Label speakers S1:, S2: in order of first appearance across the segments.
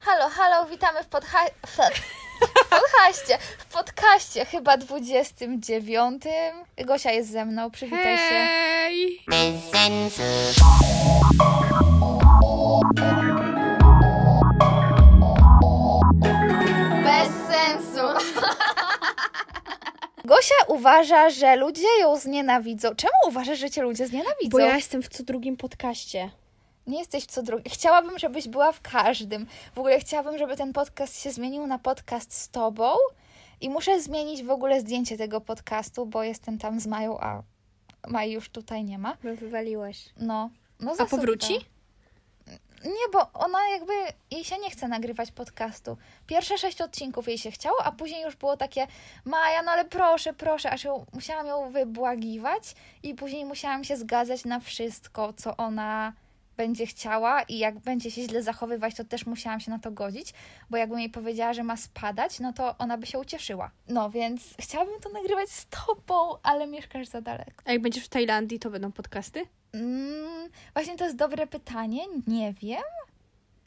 S1: Halo, halo, witamy w podha... W podcaście, w podcaście chyba 29. Gosia jest ze mną, przywitaj się.
S2: Hej!
S1: Bez sensu. Gosia uważa, że ludzie ją znienawidzą. Czemu uważasz, że cię ludzie znienawidzą?
S2: Bo ja jestem w co drugim podcaście.
S1: Nie jesteś w co drugi. Chciałabym, żebyś była w każdym. W ogóle chciałabym, żeby ten podcast się zmienił na podcast z tobą. I muszę zmienić w ogóle zdjęcie tego podcastu, bo jestem tam z Mają, a Maj już tutaj nie ma.
S2: No wywaliłaś.
S1: No. no
S2: A
S1: zasób
S2: powróci?
S1: to. Nie, bo ona jakby, jej się nie chce nagrywać podcastu. Pierwsze sześć odcinków jej się chciało, a później już było takie Maja, no ale proszę, proszę, aż ją, musiałam ją wybłagiwać i później musiałam się zgadzać na wszystko, co ona będzie chciała i jak będzie się źle zachowywać, to też musiałam się na to godzić, bo jakbym jej powiedziała, że ma spadać, no to ona by się ucieszyła. No więc chciałabym to nagrywać z tobą, ale mieszkasz za daleko.
S2: A jak będziesz w Tajlandii, to będą podcasty?
S1: Mm, właśnie to jest dobre pytanie, nie wiem.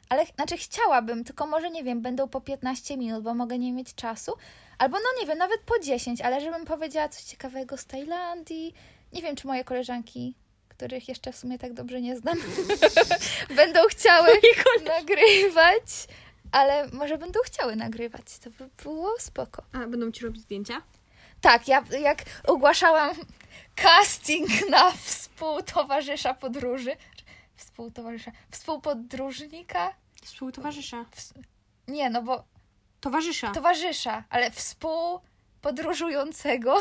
S1: Ale ch- znaczy chciałabym, tylko może nie wiem, będą po 15 minut, bo mogę nie mieć czasu. Albo no nie wiem, nawet po 10, ale żebym powiedziała coś ciekawego z Tajlandii. Nie wiem, czy moje koleżanki, których jeszcze w sumie tak dobrze nie znam, będą chciały nagrywać, ale może będą chciały nagrywać. To by było spoko.
S2: A będą ci robić zdjęcia?
S1: Tak, ja jak ogłaszałam casting na współtowarzysza podróży. Współtowarzysza. Współpodróżnika?
S2: Współtowarzysza.
S1: Nie, no bo
S2: Towarzysza.
S1: towarzysza, ale współpodróżującego.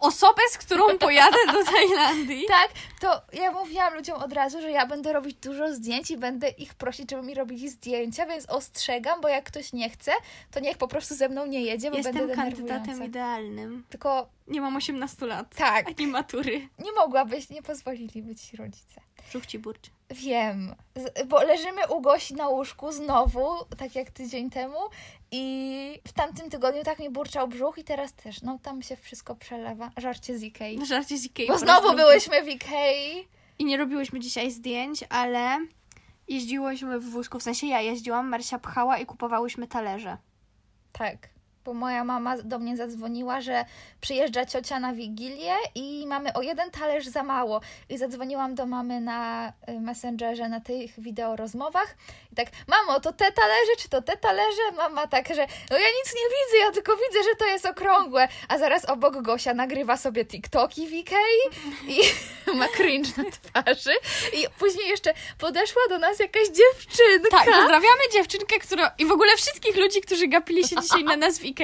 S2: Osobę, z którą pojadę do Tajlandii.
S1: Tak, to ja mówiłam ludziom od razu, że ja będę robić dużo zdjęć i będę ich prosić, żeby mi robili zdjęcia, więc ostrzegam, bo jak ktoś nie chce, to niech po prostu ze mną nie jedzie, bo
S2: Jestem
S1: będę
S2: kandydatem
S1: denerwująca.
S2: idealnym.
S1: Tylko
S2: Nie mam 18 lat.
S1: tak,
S2: Ani matury.
S1: nie mogłabyś, nie pozwoliliby ci rodzice.
S2: Brzuch ci burczy.
S1: Wiem, Z, bo leżymy u Gosi na łóżku znowu, tak jak tydzień temu i w tamtym tygodniu tak mi burczał brzuch i teraz też, no tam się wszystko przelewa, żarcie z Ikei.
S2: Na No żarcie z Ikei.
S1: Bo
S2: po
S1: znowu
S2: prostu-
S1: byłyśmy w Ikei.
S2: I nie robiłyśmy dzisiaj zdjęć, ale jeździłyśmy w wózku. W sensie ja jeździłam, Marsia pchała i kupowałyśmy talerze.
S1: Tak, bo moja mama do mnie zadzwoniła, że przyjeżdża ciocia na Wigilię i mamy o jeden talerz za mało. I zadzwoniłam do mamy na y, Messengerze, na tych wideorozmowach i tak, mamo, to te talerze, czy to te talerze? Mama tak, że no ja nic nie widzę, ja tylko widzę, że to jest okrągłe. A zaraz obok Gosia nagrywa sobie TikToki w Ikei i ma cringe na twarzy. I później jeszcze podeszła do nas jakaś dziewczynka.
S2: Tak, pozdrawiamy dziewczynkę, która... I w ogóle wszystkich ludzi, którzy gapili się dzisiaj na nas w Ikei.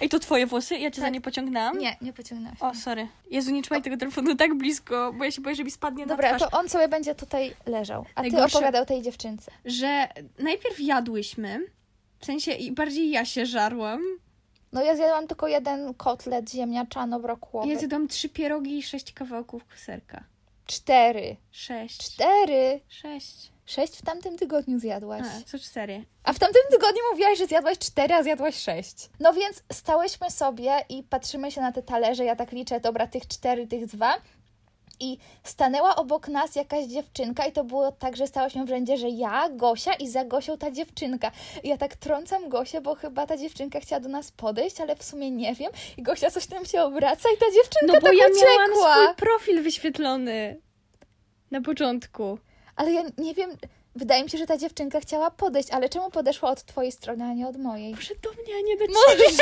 S2: Ej, to twoje włosy? Ja cię za nie pociągnęłam?
S1: Nie, nie pociągnęłaś.
S2: O, sorry. Jezu, nie trzymaj tego telefonu tak blisko, bo ja się boję, że mi spadnie na
S1: Dobra,
S2: twarz.
S1: to on sobie będzie tutaj leżał, a ty
S2: Najgorsze-
S1: opowiadał tej dziewczynce.
S2: Że najpierw jadłyśmy, w sensie i bardziej ja się żarłam.
S1: No ja zjadłam tylko jeden kotlet no ziemniaczano-brokułowy.
S2: Ja zjadłam trzy pierogi i sześć kawałków serka.
S1: Cztery.
S2: Sześć.
S1: Cztery.
S2: Sześć.
S1: Sześć w tamtym tygodniu zjadłaś.
S2: A, co cztery.
S1: A w tamtym tygodniu mówiłaś, że zjadłaś cztery, a zjadłaś sześć. No więc stałyśmy sobie i patrzymy się na te talerze. Ja tak liczę, dobra, tych cztery, tych dwa. I stanęła obok nas jakaś dziewczynka i to było tak, że stałyśmy w rzędzie, że ja, Gosia i za Gosią ta dziewczynka. I ja tak trącam Gosię, bo chyba ta dziewczynka chciała do nas podejść, ale w sumie nie wiem. I Gosia coś tam się obraca i ta dziewczynka
S2: No bo
S1: tak
S2: ja miałam
S1: uciekła.
S2: swój profil wyświetlony na początku.
S1: Ale ja nie wiem, wydaje mi się, że ta dziewczynka chciała podejść, ale czemu podeszła od twojej strony, a nie od mojej?
S2: Może do mnie, a nie do ciebie.
S1: Może!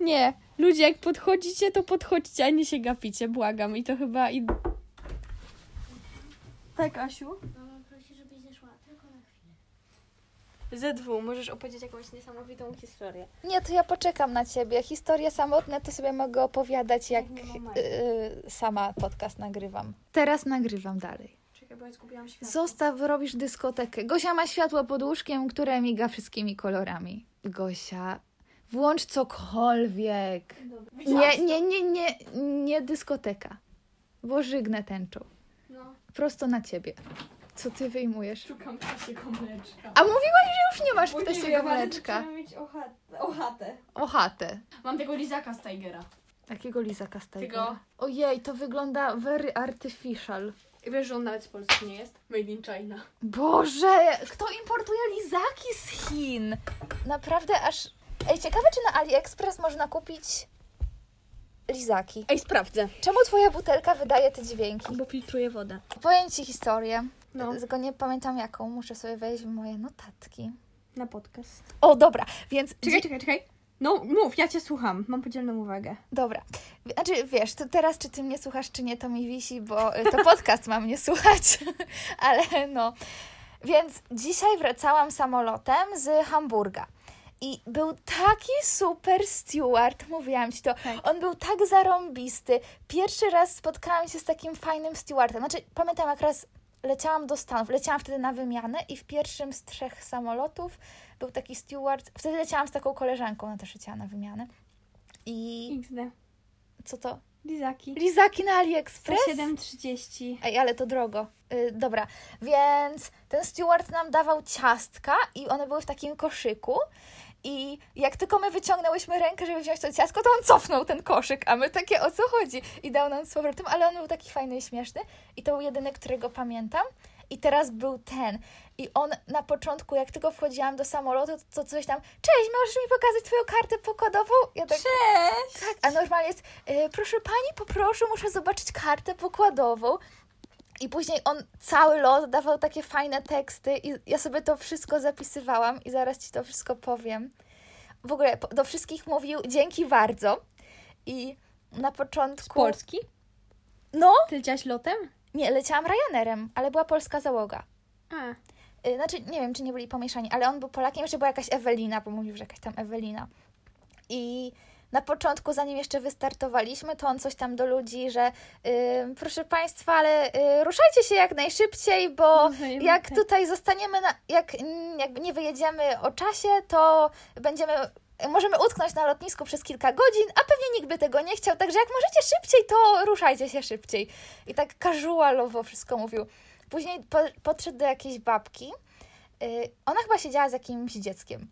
S2: Nie. Ludzie, jak podchodzicie, to podchodźcie, a nie się gapicie, błagam. I to chyba i... Tak, Asiu?
S3: Mama prosi, żebyś zeszła tylko na chwilę.
S2: Ze dwu. Możesz opowiedzieć jakąś niesamowitą historię.
S1: Nie, to ja poczekam na ciebie. Historie samotne to sobie mogę opowiadać, jak
S2: Tak, nie ma
S1: y,
S2: Maji.
S1: y, sama podcast nagrywam. Teraz nagrywam dalej.
S2: Czekaj, bo ja zgubiłam światło.
S1: Zostaw, robisz dyskotekę. Gosia ma światło pod łóżkiem, które miga wszystkimi kolorami. Gosia, włącz cokolwiek. Nie, nie, nie, nie, nie dyskoteka. Bo żygnę tęczą.
S2: No,
S1: Prosto na ciebie. Co ty wyjmujesz?
S2: szukam ptasiego mleczka.
S1: A mówiłaś, że już nie masz ptasiego mleczka.
S2: mieć ochatę.
S1: O chatę.
S2: Mam tego lizaka z Tigera.
S1: Takiego lizaka z Tigera.
S2: Tego.
S1: Ojej, to wygląda very artificial.
S2: I wiesz, że on nawet z Polski nie jest? Made in China.
S1: Boże, kto importuje lizaki z Chin? Naprawdę aż... Ej, ciekawe, czy na AliExpress można kupić lizaki.
S2: Ej, sprawdzę.
S1: Czemu twoja butelka wydaje te dźwięki?
S2: Bo filtruje wodę.
S1: Powiem ci historię.
S2: No.
S1: Tylko nie pamiętam jaką, muszę sobie wejść w moje notatki.
S2: Na podcast.
S1: O, dobra, więc...
S2: Czekaj, czekaj, czekaj. No mów, ja cię słucham. Mam podzielną uwagę.
S1: Dobra. Znaczy, wiesz, to teraz czy ty mnie słuchasz, czy nie, to mi wisi, bo y, to podcast ma mnie słuchać. Ale no. Więc dzisiaj wracałam samolotem z Hamburga. I był taki super steward, mówiłam ci to. On był tak zarąbisty. Pierwszy raz spotkałam się z takim fajnym stewardem. Znaczy, pamiętam jak raz leciałam do Stanów, leciałam wtedy na wymianę i w pierwszym z trzech samolotów był taki steward. Wtedy leciałam z taką koleżanką, ona też leciała na wymianę. I
S2: XD.
S1: co to?
S2: Lizaki.
S1: Lizaki na AliExpress?
S2: 7.30.
S1: Ej, ale to drogo. Y, dobra, więc ten steward nam dawał ciastka i one były w takim koszyku. I jak tylko my wyciągnęłyśmy rękę, żeby wziąć to ciastko, to on cofnął ten koszyk, a my takie o co chodzi? I dał nam z powrotem, ale on był taki fajny i śmieszny. I to był jedyny, którego pamiętam. I teraz był ten. I on na początku, jak tylko wchodziłam do samolotu, to coś tam, cześć, możesz mi pokazać twoją kartę pokładową? Ja tak,
S2: Cześć!
S1: tak, a normalnie jest, e, proszę pani, poproszę, muszę zobaczyć kartę pokładową. I później on cały lot dawał takie fajne teksty i ja sobie to wszystko zapisywałam i zaraz ci to wszystko powiem. W ogóle po- do wszystkich mówił dzięki bardzo i na
S2: Z
S1: początku...
S2: Polski?
S1: No,
S2: Ty leciałaś lotem?
S1: nie, leciałam Ryanerem, ale była polska załoga.
S2: A.
S1: Y, Znaczy, nie wiem, czy nie byli pomieszani, ale on był Polakiem, jeszcze była jakaś Ewelina, bo mówił, że jakaś tam Ewelina. I na początku, zanim jeszcze wystartowaliśmy, to on coś tam do ludzi, że y, proszę Państwa, ale y, ruszajcie się jak najszybciej, bo
S2: Rozumiem,
S1: jak
S2: tak.
S1: tutaj zostaniemy, na, jak mm, jakby nie wyjedziemy o czasie, to będziemy... Możemy utknąć na lotnisku przez kilka godzin, a pewnie nikt by tego nie chciał, także jak możecie szybciej, to ruszajcie się szybciej. I tak casualowo wszystko mówił. Później po, podszedł do jakiejś babki. Yy, ona chyba siedziała z jakimś dzieckiem,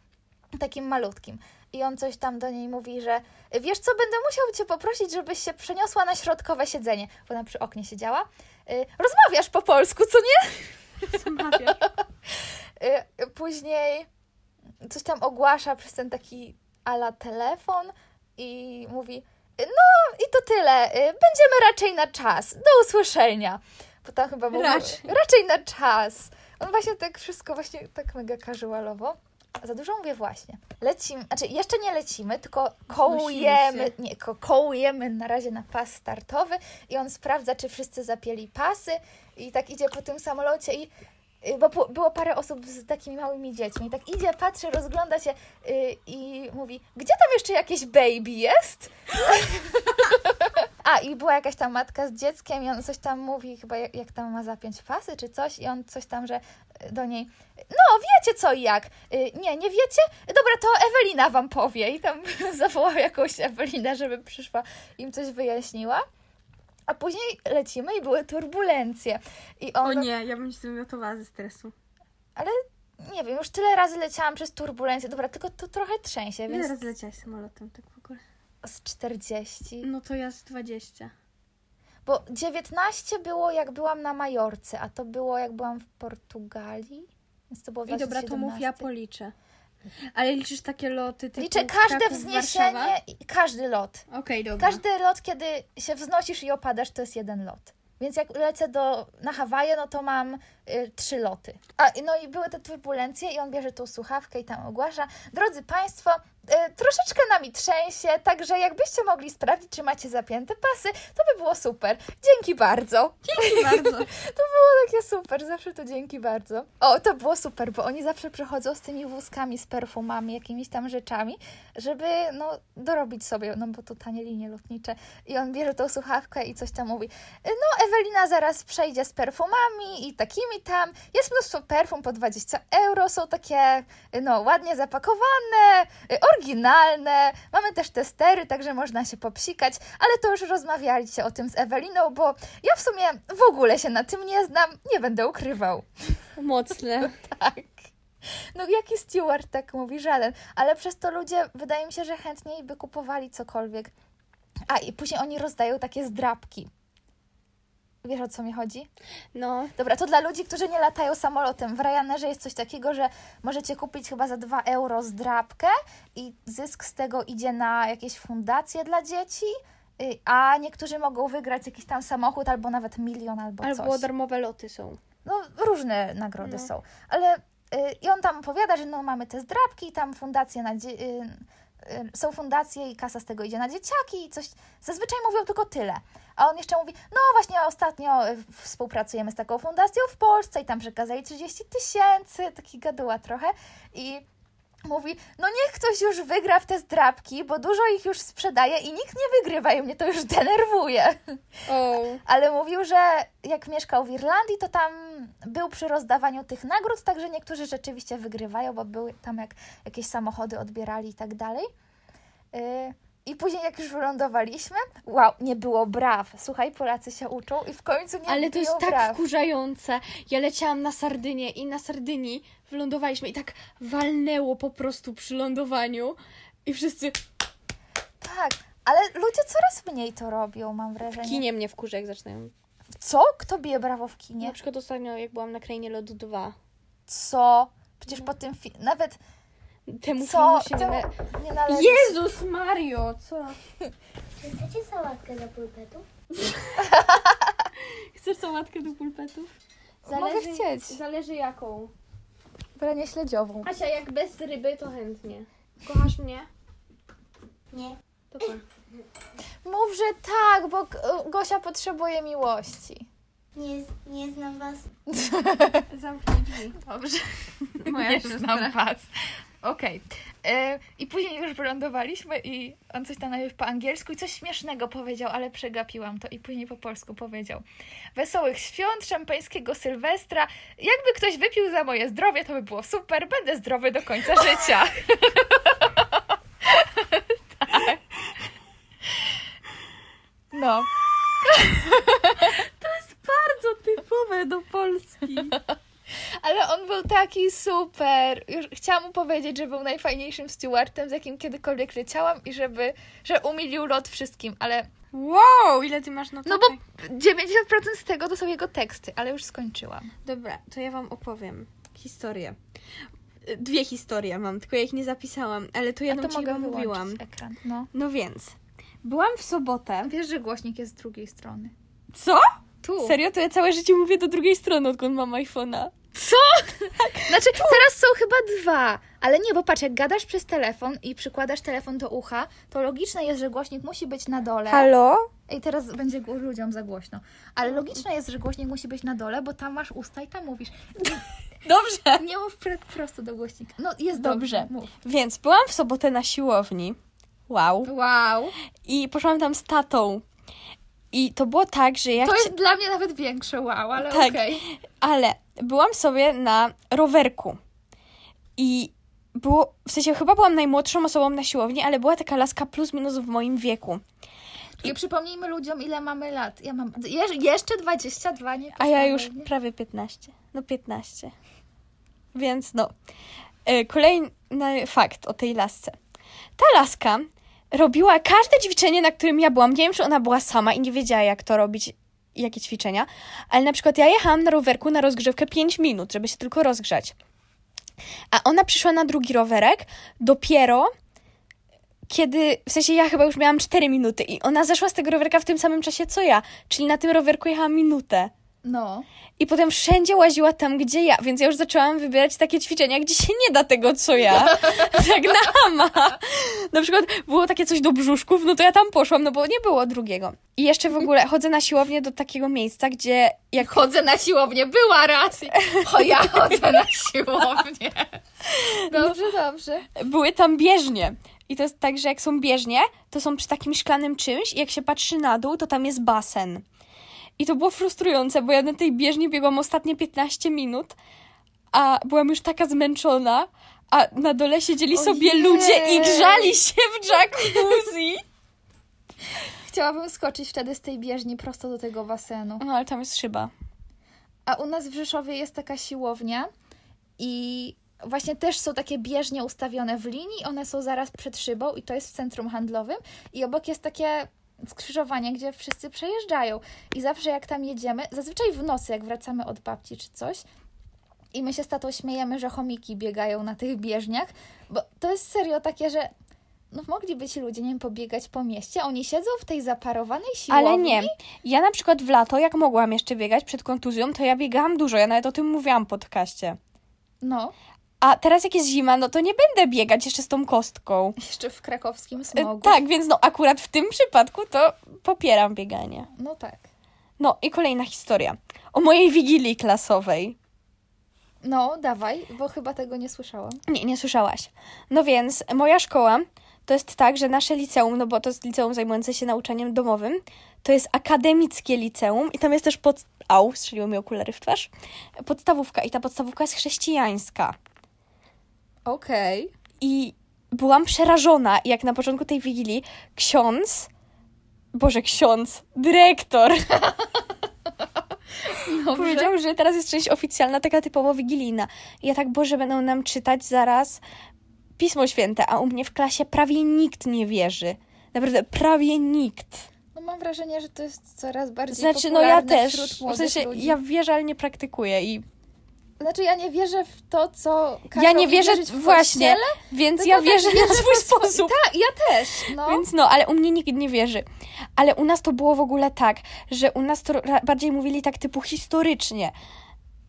S1: takim malutkim. I on coś tam do niej mówi, że wiesz co, będę musiał cię poprosić, żebyś się przeniosła na środkowe siedzenie, bo ona przy oknie siedziała. Yy, rozmawiasz po polsku, co nie?
S2: Zamawiasz.
S1: Yy, później coś tam ogłasza przez ten taki ala telefon i mówi, no i to tyle, yy, będziemy raczej na czas, do usłyszenia. Bo tam chyba było,
S2: Raczej.
S1: raczej na czas. On właśnie tak wszystko właśnie tak mega casualowo. Za dużo mówię właśnie. Lecimy, znaczy jeszcze nie lecimy, tylko kołujemy,
S2: się.
S1: nie, ko- kołujemy na razie na pas startowy i on sprawdza, czy wszyscy zapięli pasy i tak idzie po tym samolocie i y, bo po- było parę osób z takimi małymi dziećmi. I tak idzie, patrzy, rozgląda się y, i mówi, gdzie tam jeszcze jakieś baby jest? A, i była jakaś tam matka z dzieckiem i on coś tam mówi, chyba jak, jak tam ma zapiąć pasy czy coś i on coś tam, że y, do niej, no wiecie co i jak, Y, nie, nie wiecie? Dobra, to Ewelina wam powie i tam zawołał jakąś Ewelinę, żeby przyszła im coś wyjaśniła. A później lecimy i były turbulencje. I on,
S2: O nie, ja bym się wymiotowała ze stresu.
S1: ale nie wiem, już tyle razy leciałam przez turbulencje. Dobra, tylko to trochę trzęsie,
S2: Ile
S1: więc
S2: razy leciałaś samolotem tak w ogóle?
S1: z 40.
S2: No to ja z 20.
S1: Bo 19 było jak byłam na Majorce, a to było jak byłam w Portugalii. Więc to było
S2: I
S1: właśnie
S2: dobra, to mów, ja
S1: 17.
S2: policzę. Ale liczysz takie loty typu
S1: Liczę każde
S2: Kraków, Warszawa?
S1: wzniesienie i każdy lot.
S2: Okej, dobra.
S1: Każdy lot, kiedy się wznosisz i opadasz, to jest jeden lot. Więc jak lecę do, na Hawaje, no to mam y, trzy loty. A, i- no i były te turbulencje i on bierze tą słuchawkę i tam ogłasza. Drodzy Państwo, y, troszeczkę nami trzęsie, także jakbyście mogli sprawdzić, czy macie zapięte pasy, to by było super. Dzięki bardzo.
S2: Dzięki bardzo.
S1: To było takie super, zawsze to dzięki bardzo. O, to było super, bo oni zawsze przychodzą z tymi wózkami, z perfumami, jakimiś tam rzeczami, żeby no, dorobić sobie, no bo to tanie linie lotnicze. I on bierze tą słuchawkę i coś tam mówi. No, Ewelina zaraz przejdzie z perfumami i takimi tam. Jest mnóstwo perfum po 20 euro, są takie no, ładnie zapakowane, y, oryginalne. Mamy też testery, także można się popsikać, ale to już rozmawialiście o tym z Eweliną, bo ja w sumie w ogóle się na tym nie znam, nie będę ukrywał.
S2: Mocne.
S1: Tak. No jaki steward tak mówi? Żaden. Ale przez to ludzie, wydaje mi się, że chętniej by kupowali cokolwiek. A, i później oni rozdają takie zdrabki. Wiesz o co mi chodzi?
S4: No,
S1: Dobra, to dla ludzi, którzy nie latają samolotem. W Ryanairze jest coś takiego, że możecie kupić chyba za 2 euro zdrabkę i zysk z tego idzie na jakieś fundacje dla dzieci, y, a niektórzy mogą wygrać jakiś tam samochód albo nawet milion albo,
S4: albo
S1: coś.
S4: darmowe loty są.
S1: No, różne nagrody
S4: No.
S1: są. Ale y, i on tam opowiada, że no, mamy te zdrabki i tam fundacje na dzie- y, y, są fundacje i kasa z tego idzie na dzieciaki i coś. Zazwyczaj mówią tylko tyle. A on jeszcze mówi, no właśnie ostatnio y, współpracujemy z taką fundacją w Polsce i tam przekazali 30 tysięcy, taki gaduła trochę i mówi, no niech ktoś już wygra w te zdrabki, bo dużo ich już sprzedaje i nikt nie wygrywa i mnie to już denerwuje.
S4: O,
S1: Ale mówił, że jak mieszkał w Irlandii, to tam był przy rozdawaniu tych nagród, także niektórzy rzeczywiście wygrywają, bo były tam jak jakieś samochody odbierali i tak dalej. Yy, I później jak już wylądowaliśmy, wow, nie było braw. Słuchaj, Polacy się uczą i w końcu nie
S4: ale to jest
S1: biją
S4: tak
S1: braw.
S4: wkurzające. Ja leciałam na Sardynię i na Sardynii wylądowaliśmy i tak walnęło po prostu przy lądowaniu i wszyscy
S1: Tak, ale ludzie coraz mniej to robią, mam wrażenie.
S4: w kinie mnie wkurza, jak zaczynają.
S1: Co? Kto bije brawo w kinie?
S4: Na przykład ostatnio, jak byłam na Krainie Lodu 2,
S1: Co? Przecież po tym fi- nawet
S4: temu
S1: co?
S4: filmu się nie... na-
S1: Temu nie należy.
S2: Jezus Mario, co?
S5: Czy chcecie sałatkę do pulpetu?
S4: Chcesz sałatkę do pulpetów?
S1: Mogę chcieć.
S4: Zależy jaką.
S1: Branie śledziową.
S4: Asia, jak bez ryby, to chętnie. Kochasz mnie?
S5: Nie.
S4: To tak. kocham.
S1: Mów, że tak, bo G- Gosia potrzebuje miłości.
S5: Nie, z- nie znam was.
S2: Zamknij drzwi.
S1: Dobrze,
S2: Moja
S1: nie
S2: siostra.
S1: znam was. Okej. E, I później już wylądowaliśmy i on coś tam najpierw po angielsku i coś śmiesznego powiedział, ale przegapiłam to i później po polsku powiedział. Wesołych świąt, szampańskiego Sylwestra. Jakby ktoś wypił za moje zdrowie, to by było super. Będę zdrowy do końca życia. Tak. No.
S2: Bardzo typowe do Polski.
S1: Ale on był taki super. Już chciałam mu powiedzieć, że był najfajniejszym stewardem, z jakim kiedykolwiek leciałam i żeby, że umilił lot wszystkim, ale
S2: Wow, ile ty masz notatek?
S1: no bo 90% z tego to są jego teksty, ale już skończyłam.
S2: Dobra, to ja wam opowiem historię. Y, Dwie historie mam, tylko ja ich nie zapisałam, ale to
S1: Ja
S2: jedną
S1: to
S2: ci
S1: mogę
S2: chyba
S1: wyłączyć
S2: mówiłam.
S1: ekran. No.
S2: No więc, byłam w sobotę.
S1: Wiesz, że głośnik jest z drugiej strony.
S2: Co?
S1: Tu.
S2: Serio? To ja całe życie mówię do drugiej strony, odkąd mam iPhone'a.
S1: Co? Znaczy, teraz są chyba dwa, ale nie, bo patrz, jak gadasz przez telefon i przykładasz telefon do ucha, to logiczne jest, że głośnik musi być na dole.
S2: Halo?
S1: I teraz będzie gło- ludziom za głośno. Ale logiczne jest, że głośnik musi być na dole, bo tam masz usta i tam mówisz.
S2: Dobrze.
S1: Nie mów pr- prosto do głośnika. No jest
S2: Dobrze.
S1: dobrze. Mów.
S2: Więc byłam w sobotę na siłowni. Wow.
S1: Wow.
S2: I poszłam tam z tatą. I to było tak, że ja
S1: To
S2: chci-
S1: jest dla mnie nawet większe wow, ale
S2: Tak.
S1: okej.
S2: Ale byłam sobie na rowerku. I było, w sensie chyba byłam najmłodszą osobą na siłowni, ale była taka laska plus minus w moim wieku.
S1: I przypomnijmy ludziom, ile mamy lat. Ja mam jeż- jeszcze 22, nie
S2: A ja już
S1: poszłam, nie?
S2: prawie 15. No 15. Więc no. E, Kolejny fakt o tej lasce. Ta laska robiła każde ćwiczenie, na którym ja byłam. Nie wiem, czy ona była sama i nie wiedziała, jak to robić, jakie ćwiczenia, ale na przykład ja jechałam na rowerku na rozgrzewkę 5 minut, żeby się tylko rozgrzać. A ona przyszła na drugi rowerek dopiero kiedy, w sensie ja chyba już miałam 4 minuty i ona zeszła z tego rowerka w tym samym czasie co ja, czyli na tym rowerku jechałam minutę.
S1: No.
S2: I potem wszędzie łaziła tam, gdzie ja, więc ja już zaczęłam wybierać takie ćwiczenia, gdzie się nie da tego, co ja. Tak na hama. Na przykład było takie coś do brzuszków, no to ja tam poszłam, no bo nie było drugiego. I jeszcze w ogóle chodzę na siłownię do takiego miejsca, gdzie jak
S1: Chodzę na siłownię, była racja. O, ja chodzę na siłownię. Dobrze, dobrze.
S2: były tam bieżnie. I to jest tak, że jak są bieżnie, to są przy takim szklanym czymś i jak się patrzy na dół, to tam jest basen. I to było frustrujące, bo ja na tej bieżni biegłam ostatnie 15 minut, a byłam już taka zmęczona, a na dole siedzieli sobie
S1: Ojej.
S2: ludzie i grzali się w jacuzzi.
S1: Chciałabym skoczyć wtedy z tej bieżni prosto do tego basenu.
S2: No ale tam jest szyba.
S1: A u nas w Rzeszowie jest taka siłownia i właśnie też są takie bieżnie ustawione w linii, one są zaraz przed szybą i to jest w centrum handlowym i obok jest takie skrzyżowanie, gdzie wszyscy przejeżdżają. I zawsze jak tam jedziemy, zazwyczaj w nocy, jak wracamy od babci czy coś, i my się z tatą śmiejemy, że chomiki biegają na tych bieżniach, bo to jest serio takie, że no mogliby ci ludzie, nie wiem, pobiegać po mieście, oni siedzą w tej zaparowanej siłowni.
S2: Ale nie. Ja na przykład w lato, jak mogłam jeszcze biegać przed kontuzją, to ja biegałam dużo. Ja nawet o tym mówiłam w podcaście.
S1: No,
S2: A teraz jak jest zima, no to nie będę biegać jeszcze z tą kostką.
S1: jeszcze w krakowskim
S2: E,
S1: smogu.
S2: Tak, więc no akurat w tym przypadku to popieram bieganie.
S1: No tak.
S2: No i kolejna historia. O mojej wigilii klasowej.
S1: No, dawaj, bo chyba tego nie słyszałam.
S2: Nie, nie słyszałaś. No więc moja szkoła to jest tak, że nasze liceum, no bo to jest liceum zajmujące się nauczaniem domowym, to jest akademickie liceum i tam jest też pod... Au, strzeliły mi okulary w twarz. Podstawówka i ta podstawówka jest chrześcijańska.
S1: Okej.
S2: I byłam przerażona, jak na początku tej wigilii ksiądz, Boże, ksiądz, dyrektor, powiedział, że teraz jest część oficjalna, taka typowo wigilijna. I ja tak, Boże, będą nam czytać zaraz Pismo Święte, a u mnie w klasie prawie nikt nie wierzy. Naprawdę, prawie nikt.
S1: No mam wrażenie, że to jest coraz bardziej
S2: Znaczy, no ja
S1: popularne
S2: też.
S1: wśród
S2: W
S1: młodych
S2: sensie,
S1: ludzi.
S2: ja wierzę, ale nie praktykuję i
S1: Znaczy ja nie wierzę w to, co każą
S2: ja nie
S1: mi
S2: wierzę
S1: wierzyć w
S2: właśnie,
S1: kościele.
S2: więc
S1: tylko
S2: ja
S1: tak
S2: wierzę na
S1: wierzę
S2: swój
S1: po swój-
S2: sposób.
S1: Tak, ja też, no.
S2: Więc no, ale u mnie nikt nie wierzy. Ale u nas to było w ogóle tak, że u nas to ra- bardziej mówili tak typu historycznie.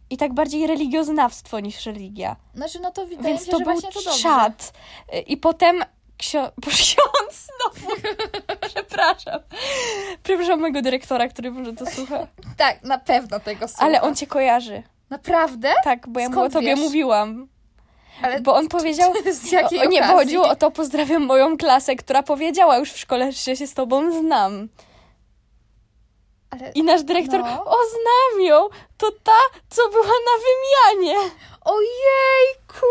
S2: I tak bardziej religioznawstwo niż religia.
S1: Znaczy no to wydaje mi
S2: Więc
S1: się,
S2: to
S1: że
S2: był
S1: właśnie to dobrze.
S2: czad. Y, I potem ksio... Boże, ksiądz znowu. Przepraszam. Przepraszam mojego dyrektora, który może to słucha.
S1: Tak, na pewno tego słucha.
S2: Ale on cię kojarzy.
S1: Naprawdę?
S2: Tak, bo ja mu o
S1: Skąd
S2: tobie
S1: wiesz?
S2: mówiłam.
S1: Ale
S2: Bo on powiedział...
S1: z jakiej
S2: o, nie, bo
S1: okazji?
S2: chodziło o to, pozdrawiam moją klasę, która powiedziała już w szkole, że się z tobą znam.
S1: Ale...
S2: I nasz dyrektor,
S1: No.
S2: o znam ją, to ta, co była na wymianie.
S1: Ojejku,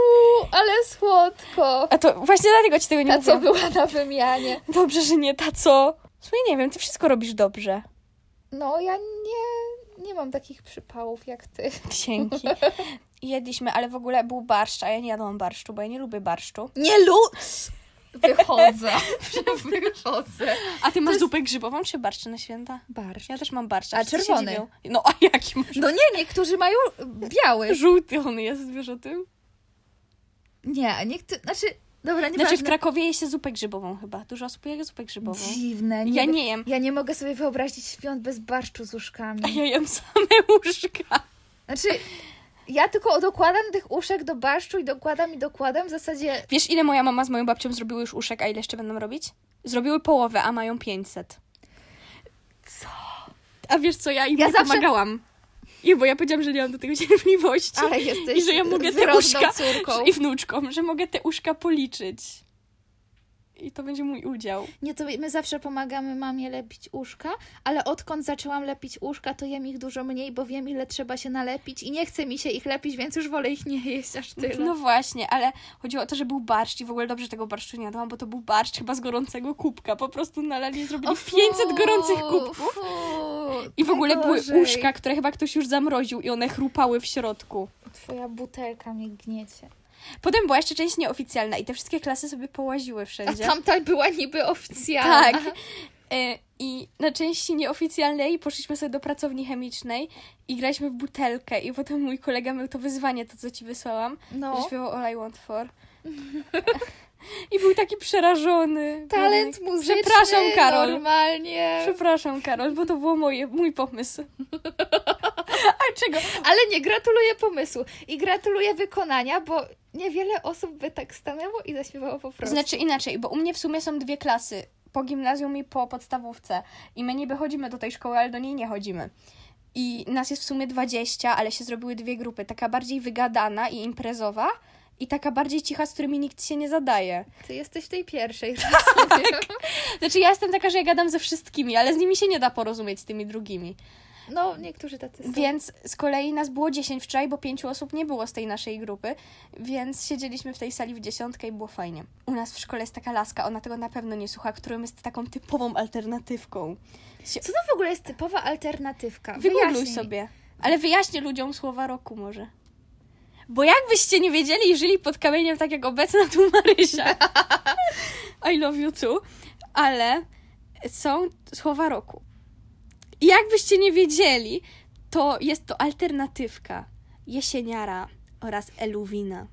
S1: ale słodko.
S2: A to właśnie dlatego ci tego nie
S1: Ta, co
S2: mówiłam.
S1: była na wymianie.
S2: Dobrze, że nie ta, co... W sumie nie wiem, ty wszystko robisz dobrze.
S1: No, ja nie, nie mam takich przypałów jak ty.
S2: Dzięki. Jedliśmy, ale w ogóle był barszcz, a ja nie jadłam barszczu, bo ja nie lubię barszczu.
S1: Nie luz! Wychodzę. Wychodzę.
S2: A ty masz zupę grzybową czy barszcz na święta?
S1: Barszcz.
S2: Ja też mam barszcz.
S1: A
S2: wszyscy się
S1: czerwony?
S2: dziwią. No a jaki masz?
S1: No nie, niektórzy mają biały.
S2: Żółty on jest, wiesz o tym?
S1: Nie, niektórzy... Znaczy, dobra, nie
S2: Znaczy w Krakowie je się zupę grzybową chyba. Dużo osób je zupę grzybową.
S1: Dziwne.
S2: Ja nie jem.
S1: Ja nie mogę sobie wyobrazić świąt bez barszczu z
S2: A
S1: uszkami.
S2: ja jem same łóżka.
S1: Znaczy, ja tylko dokładam tych uszek do barszczu i dokładam i dokładam. W zasadzie
S2: Wiesz ile moja mama z moją babcią zrobiły już uszek, a ile jeszcze będą robić? Zrobiły połowę, a mają 500. Co? A wiesz co, ja im
S1: Ja
S2: nie
S1: zawsze-
S2: pomagałam. I bo ja powiedziałam, że nie mam do tego cierpliwości.
S1: Ale jesteś
S2: I że ja mogę te
S1: wyrodną
S2: uszka
S1: córką.
S2: i wnuczką, że mogę te uszka policzyć. I to będzie mój udział.
S1: Nie, to my zawsze pomagamy mamie lepić uszka, ale odkąd zaczęłam lepić uszka, to jem ich dużo mniej, bo wiem, ile trzeba się nalepić i nie chce mi się ich lepić, więc już wolę ich nie jeść aż tyle.
S2: No właśnie, ale chodziło o to, że był barszcz i w ogóle dobrze tego barszczu nie jadłam, bo to był barszcz chyba z gorącego kubka. Po prostu nalali i zrobili 500 gorących kubków. I w ogóle były uszka, które chyba ktoś już zamroził i one chrupały w środku.
S1: Twoja butelka mnie gniecie.
S2: Potem była jeszcze część nieoficjalna i te wszystkie klasy sobie połaziły
S1: A
S2: wszędzie.
S1: tamta była niby oficjalna.
S2: Tak. E, I na części nieoficjalnej poszliśmy sobie do pracowni chemicznej i graliśmy w butelkę. I potem mój kolega miał to wyzwanie, to co ci wysłałam,
S1: No.
S2: że śpiewał All I Want For. I był taki przerażony.
S1: Talent
S2: Był taki,
S1: muzyczny.
S2: Przepraszam, Karol.
S1: Normalnie.
S2: Przepraszam, Karol, bo to było moje, mój pomysł. A czego?
S1: Ale nie, gratuluję pomysłu i gratuluję wykonania, bo niewiele osób by tak stanęło i zaśpiewało po prostu.
S2: Znaczy inaczej, bo u mnie w sumie są dwie klasy. Po gimnazjum i po podstawówce. I my niby chodzimy do tej szkoły, ale do niej nie chodzimy. I nas jest w sumie 20, ale się zrobiły dwie grupy. Taka bardziej wygadana i imprezowa i taka bardziej cicha, z którymi nikt się nie zadaje.
S1: Ty jesteś w tej pierwszej. rozumiem.
S2: Znaczy ja jestem taka, że ja gadam ze wszystkimi, ale z nimi się nie da porozumieć, z tymi drugimi.
S1: No, niektórzy tacy są.
S2: Więc z kolei nas było 10 wczoraj, bo pięciu osób nie było z tej naszej grupy, więc siedzieliśmy w tej sali w dziesiątkę i było fajnie. U nas w szkole jest taka laska, ona tego na pewno nie słucha, którą jest taką typową alternatywką.
S1: Co to w ogóle jest typowa alternatywka?
S2: Wygoogluj
S1: Wyjaśnij mi.
S2: sobie. Ale wyjaśnię ludziom słowa roku może. Bo jakbyście nie wiedzieli i żyli pod kamieniem tak jak obecna tu Marysia. I love you too. Ale są słowa roku. I jakbyście nie wiedzieli, to jest to alternatywka jesieniara oraz eluwina.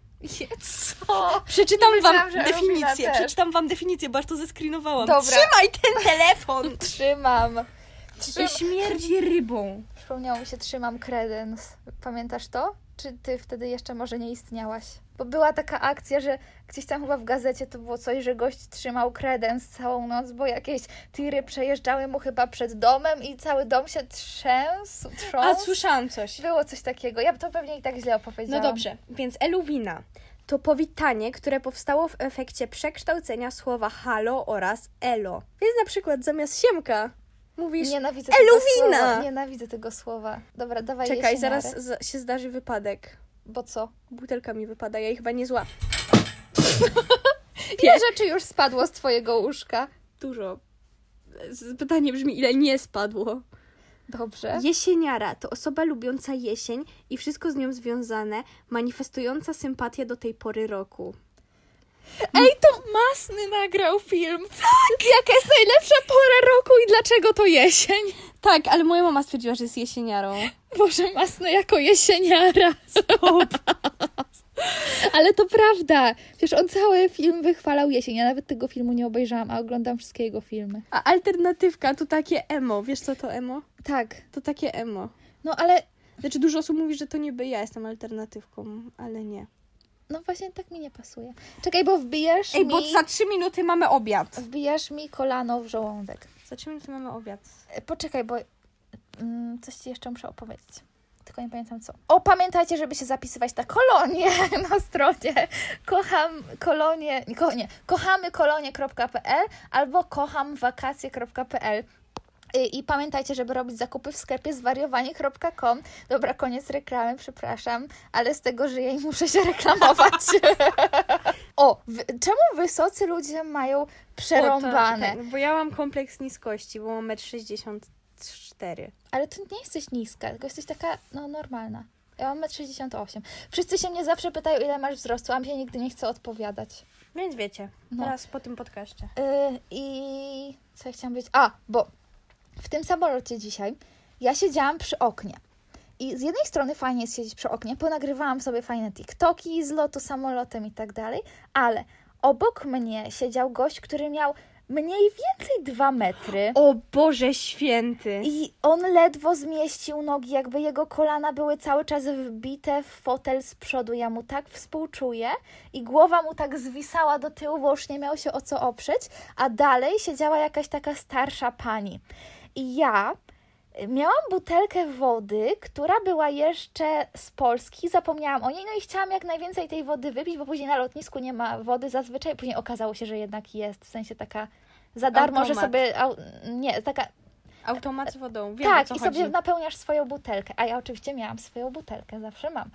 S1: Co?
S2: Przeczytam
S1: Myślałam,
S2: wam
S1: że Elwina
S2: definicję.
S1: też.
S2: Przeczytam wam definicję, bo aż to zeskrinowałam.
S1: Dobra.
S2: Trzymaj ten telefon!
S1: Trzymam. Trzymam.
S4: Śmierdzi rybą.
S1: Przypomniało mi się, trzymam kredens. Pamiętasz to? Czy ty wtedy jeszcze może nie istniałaś? Bo była taka akcja, że gdzieś tam chyba w gazecie to było coś, że gość trzymał kredens całą noc, bo jakieś tiry przejeżdżały mu chyba przed domem i cały dom się trzęsł,
S2: A
S1: trząsł.
S2: słyszałam coś.
S1: Było coś takiego. Ja to pewnie i tak źle
S2: No
S1: opowiedziałam.
S2: dobrze, więc eluwina to powitanie, które powstało w efekcie przekształcenia słowa halo oraz elo. Więc na przykład zamiast siemka mówisz...
S1: Nienawidzę
S2: Eluwina!
S1: tego słowa. Nienawidzę tego słowa. Dobra, dawaj
S2: Czekaj,
S1: jesieniarę.
S2: zaraz z- się zdarzy wypadek.
S1: Bo co?
S2: Butelka mi wypada, ja jej chyba nie zła.
S1: Ile rzeczy już spadło z twojego łóżka?
S2: Dużo. Z- Pytanie brzmi, ile nie spadło.
S1: Dobrze.
S2: Jesieniara to osoba lubiąca jesień i wszystko z nią związane, manifestująca sympatię do tej pory roku.
S4: Ej, to Masny nagrał film. Tak! Jaka jest najlepsza pora roku i dlaczego to jesień?
S2: Tak, ale moja mama stwierdziła, że jest jesieniarą.
S4: Boże, Masny jako jesieniara. Ale to prawda. Przecież on cały film wychwalał jesień. Ja nawet tego filmu nie obejrzałam, a oglądam wszystkie jego filmy.
S2: A alternatywka to takie emo. Wiesz co to emo?
S4: Tak.
S2: To takie emo.
S4: No ale,
S2: Znaczy dużo osób mówi, że to niby ja jestem alternatywką, ale nie.
S4: no właśnie tak mi nie pasuje. Czekaj, bo wbijasz
S2: Ej,
S4: mi...
S2: bo za trzy minuty mamy obiad.
S1: Wbijasz mi kolano w żołądek.
S2: Za trzy minuty mamy obiad.
S1: E, Poczekaj, bo mm, coś ci jeszcze muszę opowiedzieć. Tylko nie pamiętam co. O, pamiętajcie, żeby się zapisywać na kolonie na stronie. Kocham kolonie, nie, ko, nie kochamy kolonie.pl albo kocham wakacje.pl. I, I pamiętajcie, żeby robić zakupy w sklepie zwariowanie.com. Dobra, koniec reklamy, przepraszam, ale z tego żyję i muszę się reklamować. o, wy, czemu wysocy ludzie mają przerąbane?
S2: O, tak, bo ja mam kompleks niskości, bo mam 1,64 m.
S1: Ale ty nie jesteś niska, tylko jesteś taka, no, normalna. Ja mam 1,68 m. Wszyscy się mnie zawsze pytają, ile masz wzrostu, a mi się nigdy nie chce odpowiadać.
S2: Więc wiecie,
S1: No.
S2: teraz po tym podcaście.
S1: Yy, I co ja chciałam powiedzieć? A, bo w tym samolocie dzisiaj ja siedziałam przy oknie. I z jednej strony fajnie jest siedzieć przy oknie, ponagrywałam sobie fajne TikToki z lotu samolotem i tak dalej, ale obok mnie siedział gość, który miał mniej więcej dwa metry.
S2: O Boże Święty!
S1: I on ledwo zmieścił nogi, jakby jego kolana były cały czas wbite w fotel z przodu. Ja mu tak współczuję i głowa mu tak zwisała do tyłu, bo już nie miał się o co oprzeć, a dalej siedziała jakaś taka starsza pani. I ja y, miałam butelkę wody, która była jeszcze z Polski, zapomniałam o niej, no i chciałam jak najwięcej tej wody wypić, bo później na lotnisku nie ma wody zazwyczaj. Później okazało się, że jednak jest, w sensie taka za darmo, że
S2: Automat.
S1: sobie... au- Nie, taka
S2: Automat z wodą, wiem o
S1: tak,
S2: co
S1: i
S2: chodzi.
S1: sobie napełniasz swoją butelkę. A ja oczywiście miałam swoją butelkę, zawsze mam.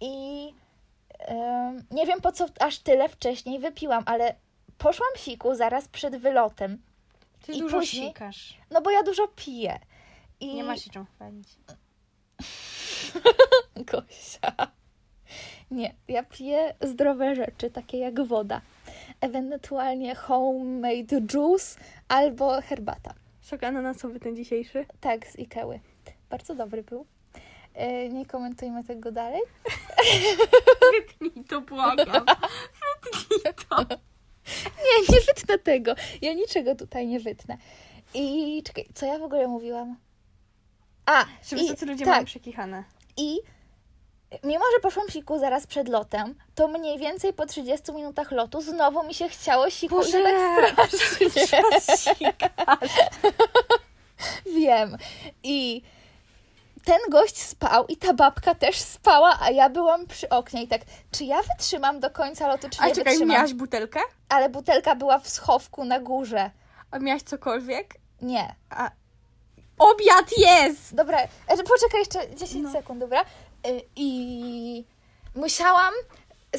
S1: I em, nie wiem po co aż tyle wcześniej wypiłam, ale poszłam siku zaraz przed wylotem.
S2: Ty
S1: no- i
S2: dużo
S1: później-
S2: sikasz.
S1: No bo ja dużo piję. I
S2: Nie ma się czym chwalić.
S1: Gosia. Nie, ja piję zdrowe rzeczy, takie jak woda. Ewentualnie homemade juice albo herbata.
S2: Sok ananasowy ten dzisiejszy?
S1: Tak, z Ikeły. Bardzo dobry był. E, Nie komentujmy tego dalej.
S2: Wytnij to, błagam.
S1: Nie, nie wytnę tego. Ja niczego tutaj nie wytnę. I czekaj, co ja w ogóle mówiłam? A,
S2: Że
S1: i,
S2: wysocy ludzie mają
S1: tak,
S2: przekichane.
S1: i mimo, że poszłam siku zaraz przed lotem, to mniej więcej po 30 minutach lotu znowu mi się chciało siku i to tak strasznie. Wiem. I ten gość spał i ta babka też spała, a ja byłam przy oknie i tak, czy ja wytrzymam do końca lotu, czy
S2: A
S1: nie
S2: czekaj,
S1: wytrzymam?
S2: miałaś butelkę?
S1: Ale butelka była w schowku na górze.
S2: A miałaś cokolwiek?
S1: Nie.
S2: A... Obiad jest!
S1: Dobra, e, poczekaj jeszcze 10 sekund, dobra? Y, I E, musiałam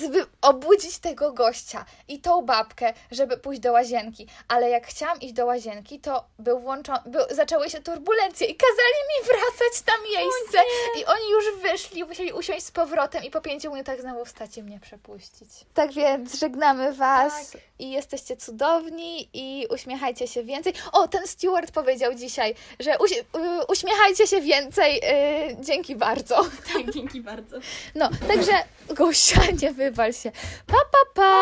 S1: żeby obudzić tego gościa i tą babkę, żeby pójść do łazienki. Ale jak chciałam iść do łazienki, to był włączony, był, zaczęły się turbulencje i kazali mi wracać na miejsce. I oni już wyszli, musieli usiąść z powrotem i po pięciu minutach znowu wstać i mnie przepuścić. Tak więc żegnamy Was i jesteście cudowni i uśmiechajcie się więcej. O, ten steward powiedział dzisiaj, że uś- y, uśmiechajcie się więcej. y, dzięki bardzo.
S4: Tak, dzięki bardzo.
S1: No, także Gosia, nie wywal się. Pa, pa, pa!